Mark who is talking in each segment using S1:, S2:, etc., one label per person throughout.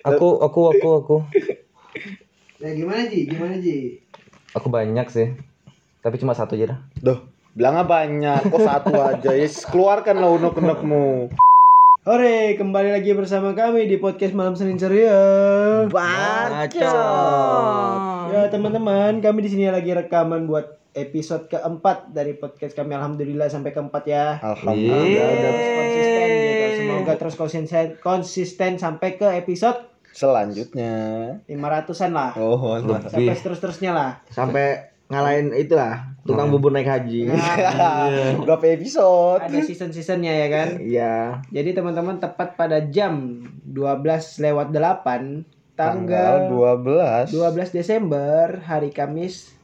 S1: Aku aku aku aku
S2: Nah, gimana Ji? Gimana Ji?
S1: aku banyak sih. Tapi cuma satu aja dah.
S3: Duh, bilangnya banyak. Kok satu aja? Ya, keluarkanlah unek-unekmu.
S2: Hore, kembali lagi bersama kami di podcast Malam Senin Ceria.
S3: Bacot.
S2: Ya, teman-teman, kami di sini lagi rekaman buat episode keempat dari podcast kami. Alhamdulillah sampai keempat ya.
S3: Alhamdulillah.
S1: Yeay.
S3: Dan
S2: Terus konsisten gitu. Semoga terus konsisten, konsisten sampai ke episode
S3: selanjutnya.
S2: 500-an lah.
S3: Oh,
S2: Sampai terus-terusnya lah.
S4: sampai ngalahin itulah tukang bubur naik haji.
S3: Iya. Berapa episode?
S2: Iya. Ada season-seasonnya ya kan.
S4: Iya.
S2: Jadi teman-teman tepat pada jam 12 lewat 8
S3: Tanggal
S2: tanggal
S3: 12.
S2: 12 Desember hari Kamis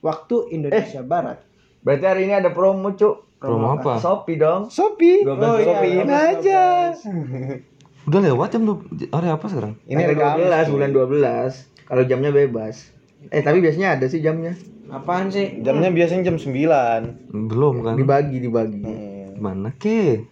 S2: waktu
S4: Eh.
S2: Indonesia Barat.
S4: Berarti hari ini ada promo, Cuk.
S1: Promo apa?
S4: Shopee dong.
S3: Shopee.
S2: Oh, iya,
S3: Shopeein
S2: 12.
S3: aja.
S1: Udah lewat jam dua- hari apa sekarang?
S3: Ini
S4: Tanggal
S3: rekaman.
S4: 12 bulan 12. Kalau jamnya bebas. Eh, tapi biasanya ada sih jamnya.
S2: Apaan sih?
S3: Jamnya biasanya jam Hmm. 9.
S1: Belum kan?
S4: Dibagi,
S2: Hmm.
S4: dibagi.
S1: Gimana ke?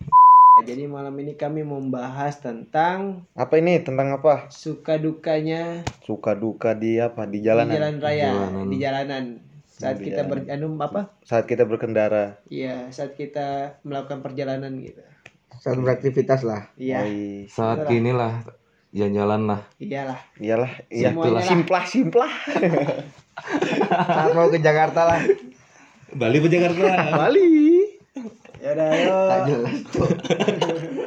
S2: Jadi malam ini kami membahas tentang
S3: Apa ini tentang apa?
S2: suka dukanya
S3: Suka duka di apa? Di
S2: di
S3: jalanan.
S2: jalan raya,
S1: Jalanan.
S2: di jalanan. Saat
S3: Di
S2: kita
S4: Iya.
S3: jalanan.
S2: beranu apa?
S3: Saat kita berkendara.
S2: Iya, saat kita melakukan perjalanan gitu.
S4: Saat beraktivitas lah.
S2: Iya,
S3: Oi.
S1: Saat kini lah jalan-jalan lah.
S2: iyalah.
S3: Iyalah, iya.
S2: Semuanya lah. Iya.
S3: Simplah, simplah.
S4: Saat mau ke Jakarta lah.
S1: Bali ke Jakarta.
S3: Bali.
S2: Ya udah, ayo.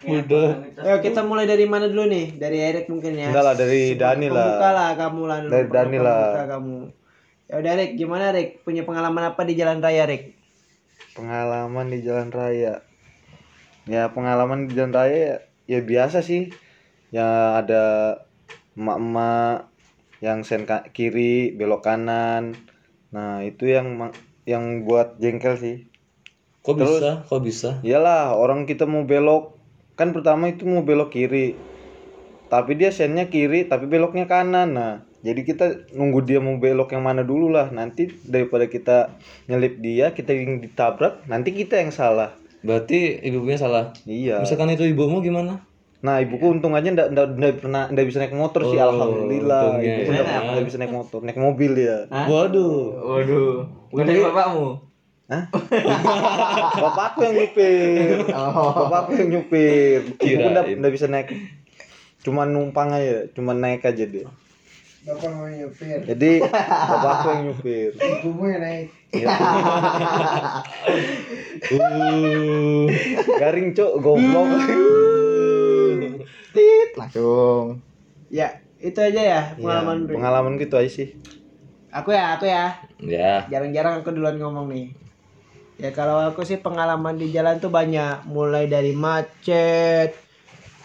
S1: Udah.
S2: Ya, Ayo kita mulai dari mana dulu nih? Dari Erik mungkin ya.
S3: Enggak lah, dari
S2: Sebagai
S3: Dani lah.
S2: pembuka lah kamu lah. dulu,
S3: Dari
S2: pernah
S3: Dani lah.
S2: pembuka kamu. Ya udah Erik, gimana Erik? Punya pengalaman apa di jalan raya Erik?
S3: Pengalaman di jalan raya. Ya, pengalaman di jalan raya ya, ya biasa sih. Ya ada emak-emak yang sen ka- kiri, belok kanan. Nah, itu yang ma- yang buat jengkel sih.
S1: Kok
S3: Terus?
S1: bisa? Kok bisa?
S3: Iyalah, orang kita mau belok kan pertama itu mau belok kiri. Tapi dia sennya kiri, tapi beloknya kanan. Nah, jadi kita nunggu dia mau belok yang mana dulu lah. Nanti daripada kita nyelip dia, kita yang ditabrak, nanti kita yang salah.
S1: Berarti ibunya salah.
S3: Iya.
S1: Misalkan itu ibumu gimana?
S3: Nah, ibuku untung aja ndak ndak ndak pernah ndak bisa naik motor sih,
S1: Iya. Oh,
S3: alhamdulillah.
S1: untungnya. ya.
S3: Ibuku ndak pernah ndak bisa naik motor, naik mobil ya.
S1: Waduh.
S4: Waduh. Bukan dari bapakmu.
S3: Hah? Bapakku yang nyupir. Bapakku yang nyupir. Ibuku ndak
S1: Oh. Kirain.
S3: ndak bisa naik. Cuma numpang aja, cuma naik aja dia.
S2: Bapak mau nyupir,
S3: Jadi bapakku yang nyupir.
S2: ibumu yang naik.
S3: Ya,
S1: Uh.
S3: garing cok, goblok.
S4: Tit langsung.
S2: Ya, itu aja ya pengalaman.
S3: Pengalaman
S2: Erik.
S3: Iya, pengalaman gitu aja sih.
S2: Aku ya, aku ya.
S1: ya.
S2: Jarang-jarang aku duluan ngomong nih. Ya kalau aku sih pengalaman di jalan tuh banyak, mulai dari macet,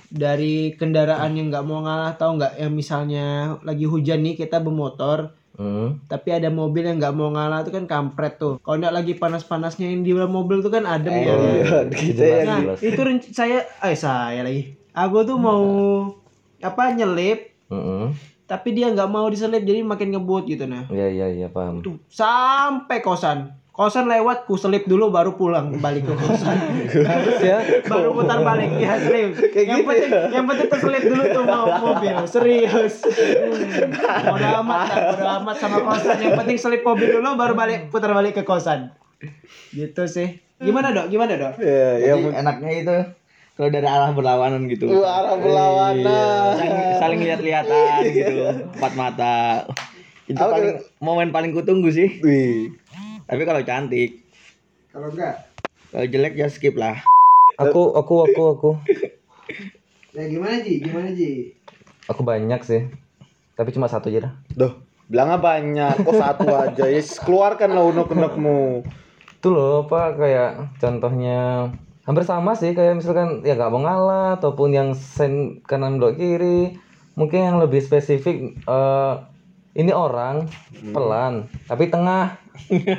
S2: dari kendaraan yang nggak mau ngalah tahu nggak yang misalnya lagi hujan nih kita bermotor
S1: Hmm.
S2: tapi ada mobil yang nggak mau ngalah itu kan kampret tuh kalau nggak lagi panas-panasnya yang di dalam mobil tuh kan adem ya
S3: Iya, kita yang
S2: nah
S1: jelas.
S2: itu renc- saya eh saya lagi aku tuh mau apa nyelip
S1: Heeh.
S2: tapi dia nggak mau diselip jadi makin ngebut gitu nah
S1: Iya iya iya paham.
S2: tuh sampai kosan kosan lewat ku selip dulu baru pulang balik ke kosan
S1: Terus ya.
S2: baru putar balik ya serius yang
S3: gitu
S2: penting
S3: ya?
S2: yang penting terselip dulu tuh mau mobil serius udah amat lah udah amat sama kosan yang penting selip mobil dulu baru balik putar balik ke kosan gitu sih gimana dok gimana dok
S3: ya, ya
S4: Jadi enaknya itu kalau dari arah berlawanan gitu.
S3: arah berlawanan. Iya.
S4: saling, saling lihat-lihatan gitu empat mata itu
S3: Apa
S4: paling momen paling kutunggu sih
S3: Wih.
S4: tapi kalau cantik
S2: kalau enggak
S4: kalau jelek ya skip lah
S1: Aku aku aku aku
S2: ya gimana ji gimana ji
S1: aku banyak sih. Tapi cuma satu aja dah.
S3: Duh, bilangnya banyak. Kok satu aja? Ya, keluarkanlah unek-unekmu.
S1: Itu loh apa kayak contohnya hampir sama sih kayak misalkan ya nggak mau ngalah ataupun yang sen kanan belok kiri mungkin yang lebih spesifik eh, ini orang
S4: Hmm.
S1: pelan tapi tengah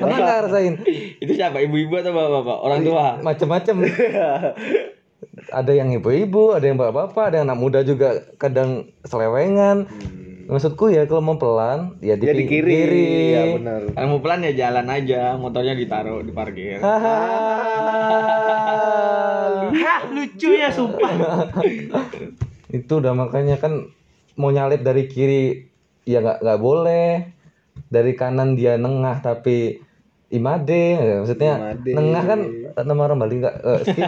S1: pernah nggak rasain
S4: itu siapa ibu-ibu atau bapak-bapak orang tua
S1: macam-macam ada yang ibu-ibu ada yang bapak-bapak ada yang anak muda juga kadang selewengan maksudku ya kalau mau pelan ya di,
S3: Ya di
S1: ping-
S3: kiri.
S1: kiri.
S3: Ya benar.
S4: kalau mau pelan ya jalan aja motornya ditaruh di parkir
S1: Hahaha.
S2: Eh, Hah, lucu ya sumpah
S1: itu udah makanya kan mau nyalip dari kiri ya nggak nggak boleh dari kanan dia nengah tapi imade ya, maksudnya
S3: Imade.
S1: nengah kan nama orang Bali nggak eh, skip.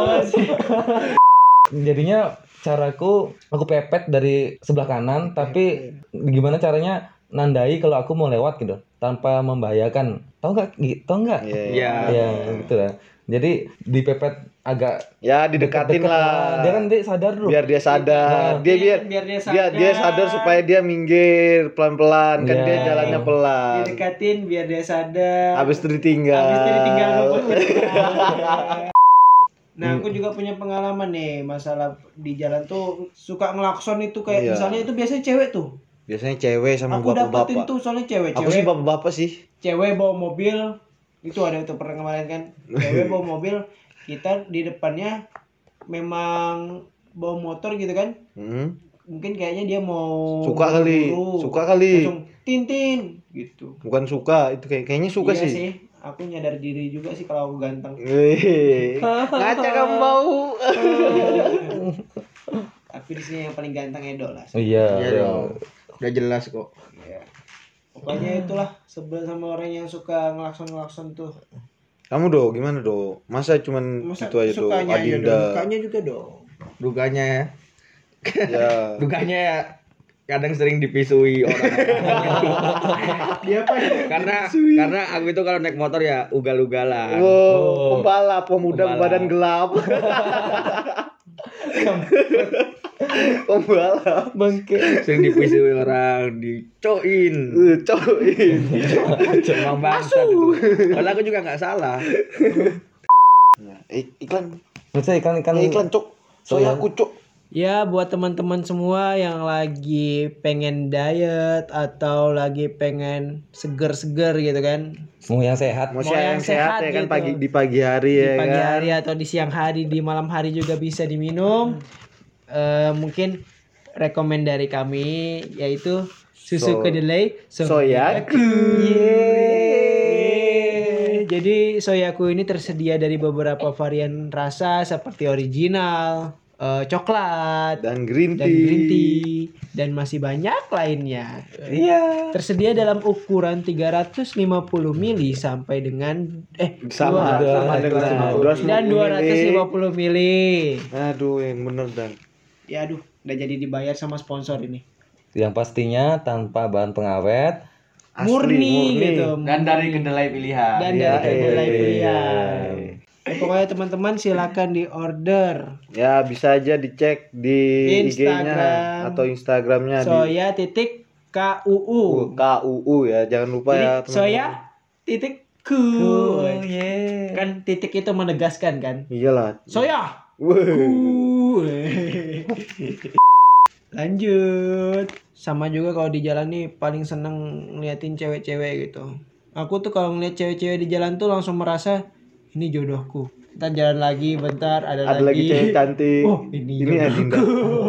S1: jadinya caraku aku pepet dari sebelah kanan tapi gimana caranya nandai kalau aku mau lewat gitu tanpa membahayakan tau nggak Gi? tau nggak
S3: Iya.
S4: Iya.
S1: ya gitu lah jadi dipepet agak
S3: Ya didekatin
S1: deket-deket
S3: lah.
S1: dia kan dia sadar dulu
S3: biar dia
S4: Iya.
S3: sadar. Dia biar
S2: biar dia
S3: dia dia sadar supaya dia minggir pelan-pelan kan dia
S1: Iya.
S3: jalannya pelan.
S4: Iya,
S2: didekatin biar dia sadar.
S3: Habis itu ditinggal.
S2: Habis itu ditinggal rumputnya.
S3: Iya.
S2: Nah, aku juga punya pengalaman nih masalah di jalan tuh suka ngelakson itu kayak
S3: Iya.
S2: misalnya itu biasanya cewek tuh.
S3: Biasanya cewek sama
S2: aku dapatin
S3: bapak-bapak.
S2: tuh soalnya cewek,
S3: Aku
S2: cewek,
S3: sih bapak-bapak sih.
S2: cewek bawa mobil itu ada itu pernah kemarin kan. Cewek bawa mobil, kita di depannya memang bawa motor gitu kan.
S3: Hmm.
S2: Mungkin kayaknya dia mau
S3: Suka kali.
S2: buru-buru.
S3: Suka kali.
S2: Langsung tintin gitu.
S3: Bukan suka, itu kayak kayaknya suka
S2: iya sih.
S3: sih.
S2: Aku nyadar diri juga sih kalau aku ganteng.
S3: Wih. Ngaca kamu bau.
S2: Oh. Tapi di sini yang paling ganteng Edo lah.
S1: iya
S4: Iya
S1: iya.
S4: dong. Udah jelas kok.
S2: Ya. Pokoknya itulah sebel sama orang yang suka ngelakson-ngelakson tuh.
S3: Kamu do, gimana do? Masa cuman
S2: Masa
S3: gitu aja do,
S2: sukanya aja dong,
S3: Adinda.
S2: sukanya juga dong.
S4: Duganya ya.
S3: Ya.
S4: Duganya ya kadang sering dipisui orang.
S2: Dia apa ya?
S4: karena Nah, karena aku itu kalau naik motor ya ugal-ugalan. Oh.
S3: Wow, pembalap, pemuda
S4: Pembalap.
S3: badan gelap. pembalap.
S1: bangke
S4: Sering dipisui orang, dicoin.
S3: Eh, Coy.
S4: Emang bangsat itu. Padahal aku juga nggak salah.
S3: Nah, ik- iklan,
S1: maksudnya ikan ikan
S3: Eh, iklan cuk. Soalnya aku cuk.
S2: Ya buat teman-teman semua yang lagi pengen diet atau lagi pengen seger-seger gitu kan
S1: mau yang sehat
S3: Mau
S2: Mau yang
S3: yang
S2: sehat
S3: sehat ya kan
S2: gitu.
S3: pagi di pagi hari
S2: di
S3: ya
S2: pagi
S3: kan.
S2: hari atau di siang hari di malam hari juga bisa diminum Eh, mungkin rekomend dari kami yaitu susu
S3: So-
S2: kedelai
S3: Soyaku.
S2: Yeay. Jadi soyaku ini tersedia dari beberapa varian rasa seperti original, eh, coklat,
S3: Dan green
S2: dan
S3: tea.
S2: green tea dan masih banyak lainnya.
S1: iya
S2: Tersedia dalam ukuran 350 mili sampai dengan eh
S3: Sama,
S1: Dua-
S3: sama dengan
S1: dua-
S2: dua- dan 250 mili.
S3: Aduh, yang bener dan.
S2: Ya aduh, udah jadi dibayar sama sponsor ini.
S1: yang pastinya tanpa bahan pengawet
S3: Asli,
S2: murni,
S3: murni.
S2: gitu.
S4: dari kedelai pilihan.
S2: dan
S3: Ya,
S2: dari kedelai
S3: eh.
S2: pilihan. Pokoknya teman-teman silakan di order
S3: Ya bisa aja dicek di
S2: Instagram.
S3: IG-nya atau
S2: Nah,
S3: Instagramnya di
S2: soya titik KUU.
S3: KUU ya. Jangan lupa
S2: Jadi
S3: ya
S2: soya titik ku. eh. Kan titik itu menegaskan kan.
S3: Iyalah.
S2: Soya
S3: Wuh.
S2: ku. Lanjut. Sama juga kalau di jalan nih paling seneng ngeliatin cewek-cewek gitu. Aku tuh kalau ngeliat cewek-cewek di jalan tuh langsung merasa ini jodohku. Kita jalan lagi bentar ada,
S3: Ada lagi cewek cantik.
S2: Oh, ini
S3: ini Adinda.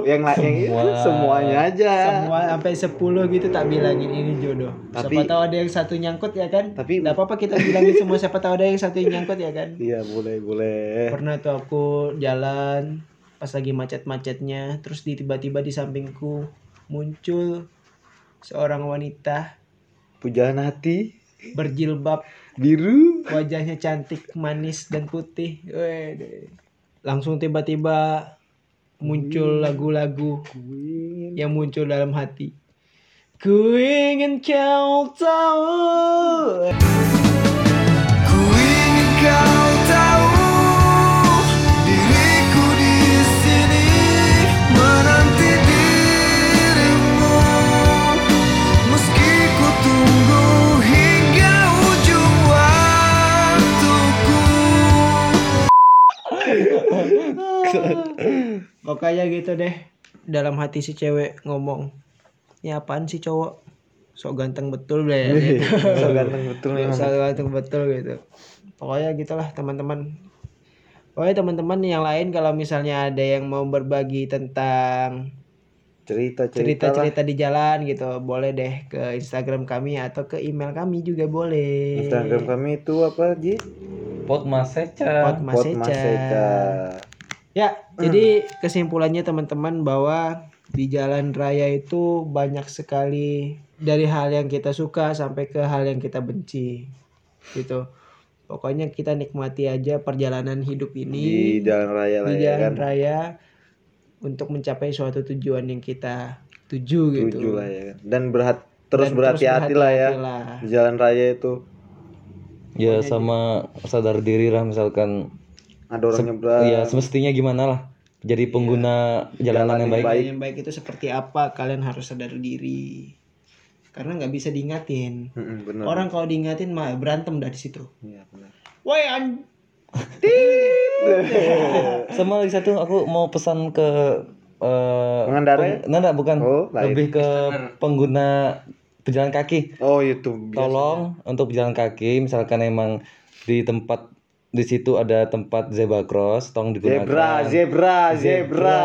S3: yang la- yang
S1: Semua.
S3: semuanya aja.
S2: semua sampai 10 gitu tak bilangin ini jodoh. siapa
S3: Tapi-
S2: tahu ada yang satu nyangkut ya kan?
S3: Tapi-
S2: Nggak apa-apa kita bilangin semua siapa tahu ada yang satu yang nyangkut ya kan?
S3: Iya, boleh, boleh.
S2: Pernah tuh aku jalan pas lagi macet-macetnya terus di tiba-tiba di sampingku muncul seorang wanita
S3: Pujaan hati
S2: berjilbab,
S3: biru.
S2: wajahnya cantik, manis dan putih. Wede. Langsung tiba-tiba muncul lagu-lagu yang muncul dalam hati. Ku ingin kau tahu.
S5: Ku ingin kau tahu diriku di sini menanti dirimu meski ku tunggu hingga ujung waktuku.
S2: Pokoknya gitu deh. Dalam hati si cewek ngomong, "Ya apaan sih cowok? Sok ganteng betul deh."
S3: Eh, So ganteng betul memang.
S2: Sok ganteng betul gitu. Pokoknya gitulah teman-teman. Pokoknya teman-teman yang lain kalau misalnya ada yang mau berbagi tentang
S3: Cerita-cerita lah.
S2: cerita-cerita di jalan gitu, boleh deh ke Instagram kami atau ke email kami juga boleh.
S3: Instagram kami itu apa, Ji?
S1: pot maseca
S2: Pot Mas
S3: Pot
S2: Eca.
S3: Mas Eca.
S2: Ya, jadi kesimpulannya teman-teman bahwa di jalan raya itu banyak sekali dari hal yang kita suka sampai ke hal yang kita benci. Gitu. Pokoknya kita nikmati aja perjalanan hidup
S3: di
S2: ini di,
S3: jalan raya lah ya
S2: jalan
S3: kan
S2: raya untuk mencapai suatu tujuan yang kita tuju gitu.
S3: tujuh lah ya kan. dan berhat terus
S2: Dan
S3: berhati-hati lah ya
S2: berhati-hatilah.
S3: di jalan raya itu
S1: ya
S3: Iya,
S1: sama sadar diri lah misalkan
S3: ada orang
S2: Iya.
S3: nyebrang
S1: ya semestinya gimana lah jadi
S3: Iya.
S1: pengguna jalanan yang baik
S2: Yang baik itu seperti apa? Kalian harus sadar diri. Karena nggak bisa diingatin.
S3: Mm-mm, bener
S2: Orang kalau diingatin mah berantem dari situ.
S3: Iya, bener.
S2: Woi an
S1: sama lagi satu aku mau pesan ke eh
S3: Pengendara? ya?
S1: peng- nah, enggak, bukan
S3: Oh, lain.
S1: lebih ke pengguna pejalan kaki
S3: oh itu
S1: tolong untuk pejalan kaki misalkan emang di tempat di situ ada tempat zebra cross tolong digunakan
S2: kan.
S3: zebra zebra zebra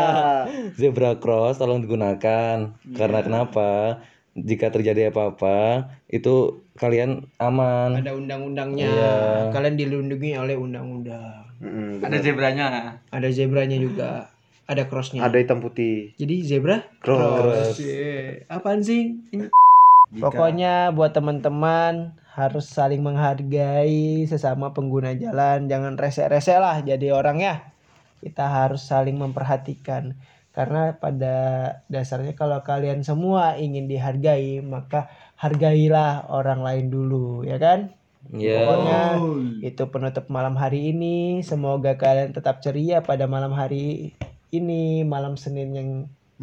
S1: zebra cross tolong digunakan
S4: Iya.
S1: karena kenapa jika terjadi apa-apa itu kalian aman
S2: ada undang-undangnya. Kalian dilindungi oleh undang-undang.
S3: Mm-mm,
S4: Ada
S3: bener.
S4: zebranya.
S2: Ada zebranya juga, ada crossnya.
S3: ada hitam putih
S2: Jadi zebra
S3: cross
S2: Iya. Apaan sih? Pokoknya buat teman-teman harus saling menghargai sesama pengguna jalan, jangan rese-rese lah jadi orangnya. Kita harus saling memperhatikan karena pada dasarnya kalau kalian semua ingin dihargai, maka hargailah orang lain dulu, ya kan?
S1: ya
S2: Pokoknya itu penutup malam hari ini. Semoga kalian tetap ceria pada malam hari ini, malam Senin yang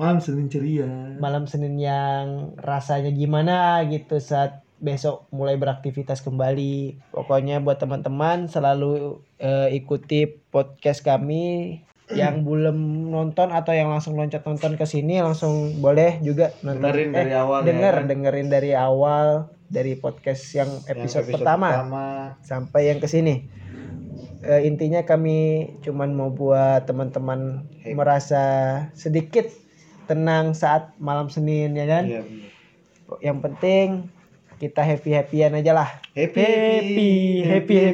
S6: Malam Senin ceria.
S2: malam Senin yang rasanya gimana gitu saat besok mulai beraktivitas kembali. Pokoknya buat teman-teman selalu eh, ikuti podcast kami yang belum nonton atau yang langsung loncat nonton ke sini langsung boleh juga nonton
S3: dengerin
S2: Eh,
S3: dari awal ya
S2: denger
S3: kan?
S2: dengerin dari awal dari podcast yang
S3: Yang
S2: episode, pertama sampai yang ke sini. Eh, intinya kami cuman mau buat teman-teman merasa sedikit tenang saat malam Senin ya kan.
S3: Iya, bener.
S2: Yang penting kita happy-happyan aja lah.
S3: happy happy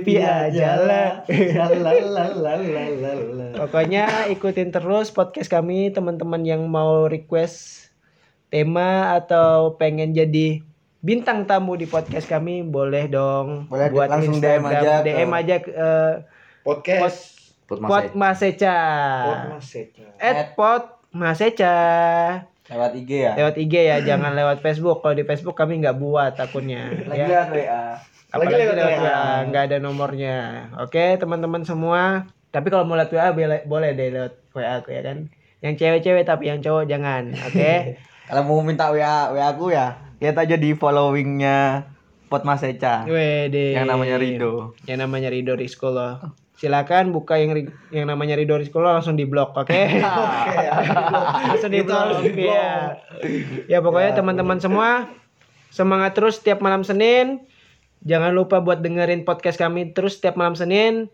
S2: happy-happy
S3: Shalalalalalalalala.
S2: Pokoknya ikutin terus podcast kami teman-teman yang mau request tema atau pengen jadi bintang tamu di podcast kami boleh dong
S4: Boleh, langsung DM aja ke-
S2: DM aja ke eh,
S3: podcast
S1: Put Mas
S2: Pot
S1: Ed.
S2: Maseca. At Pot Maseca.
S4: Lewat IG ya.
S2: Lewat IG ya, jangan lewat Facebook. Kalau di Facebook kami nggak buat akunnya.
S4: Lagi
S2: ya.
S4: lewat WA.
S2: Apalagi
S3: lagi lewat
S2: lewat
S3: WA.
S2: WA, nggak ada nomornya. Oke, teman-teman semua. Tapi kalau mau lewat WA bele- boleh deh lewat WA aku ya kan. Yang cewek-cewek tapi yang cowok jangan. Oke.
S4: Kalau mau minta WA WA aku ya, lihat aja di followingnya Pot Mas Eca.
S2: Wede.
S4: Yang namanya Rido.
S2: Yang namanya Rido Rizko loh. Silakan buka yang ri- yang namanya Rido Rizko lo langsung di blok, oke? langsung di blok. Ya. ya pokoknya teman-teman semua semangat terus setiap malam Senin. Jangan lupa buat dengerin podcast kami terus setiap malam Senin.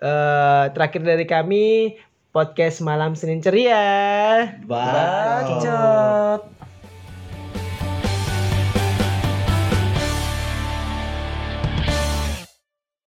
S2: Eh, terakhir dari kami podcast malam Senin ceria.
S3: Bacot.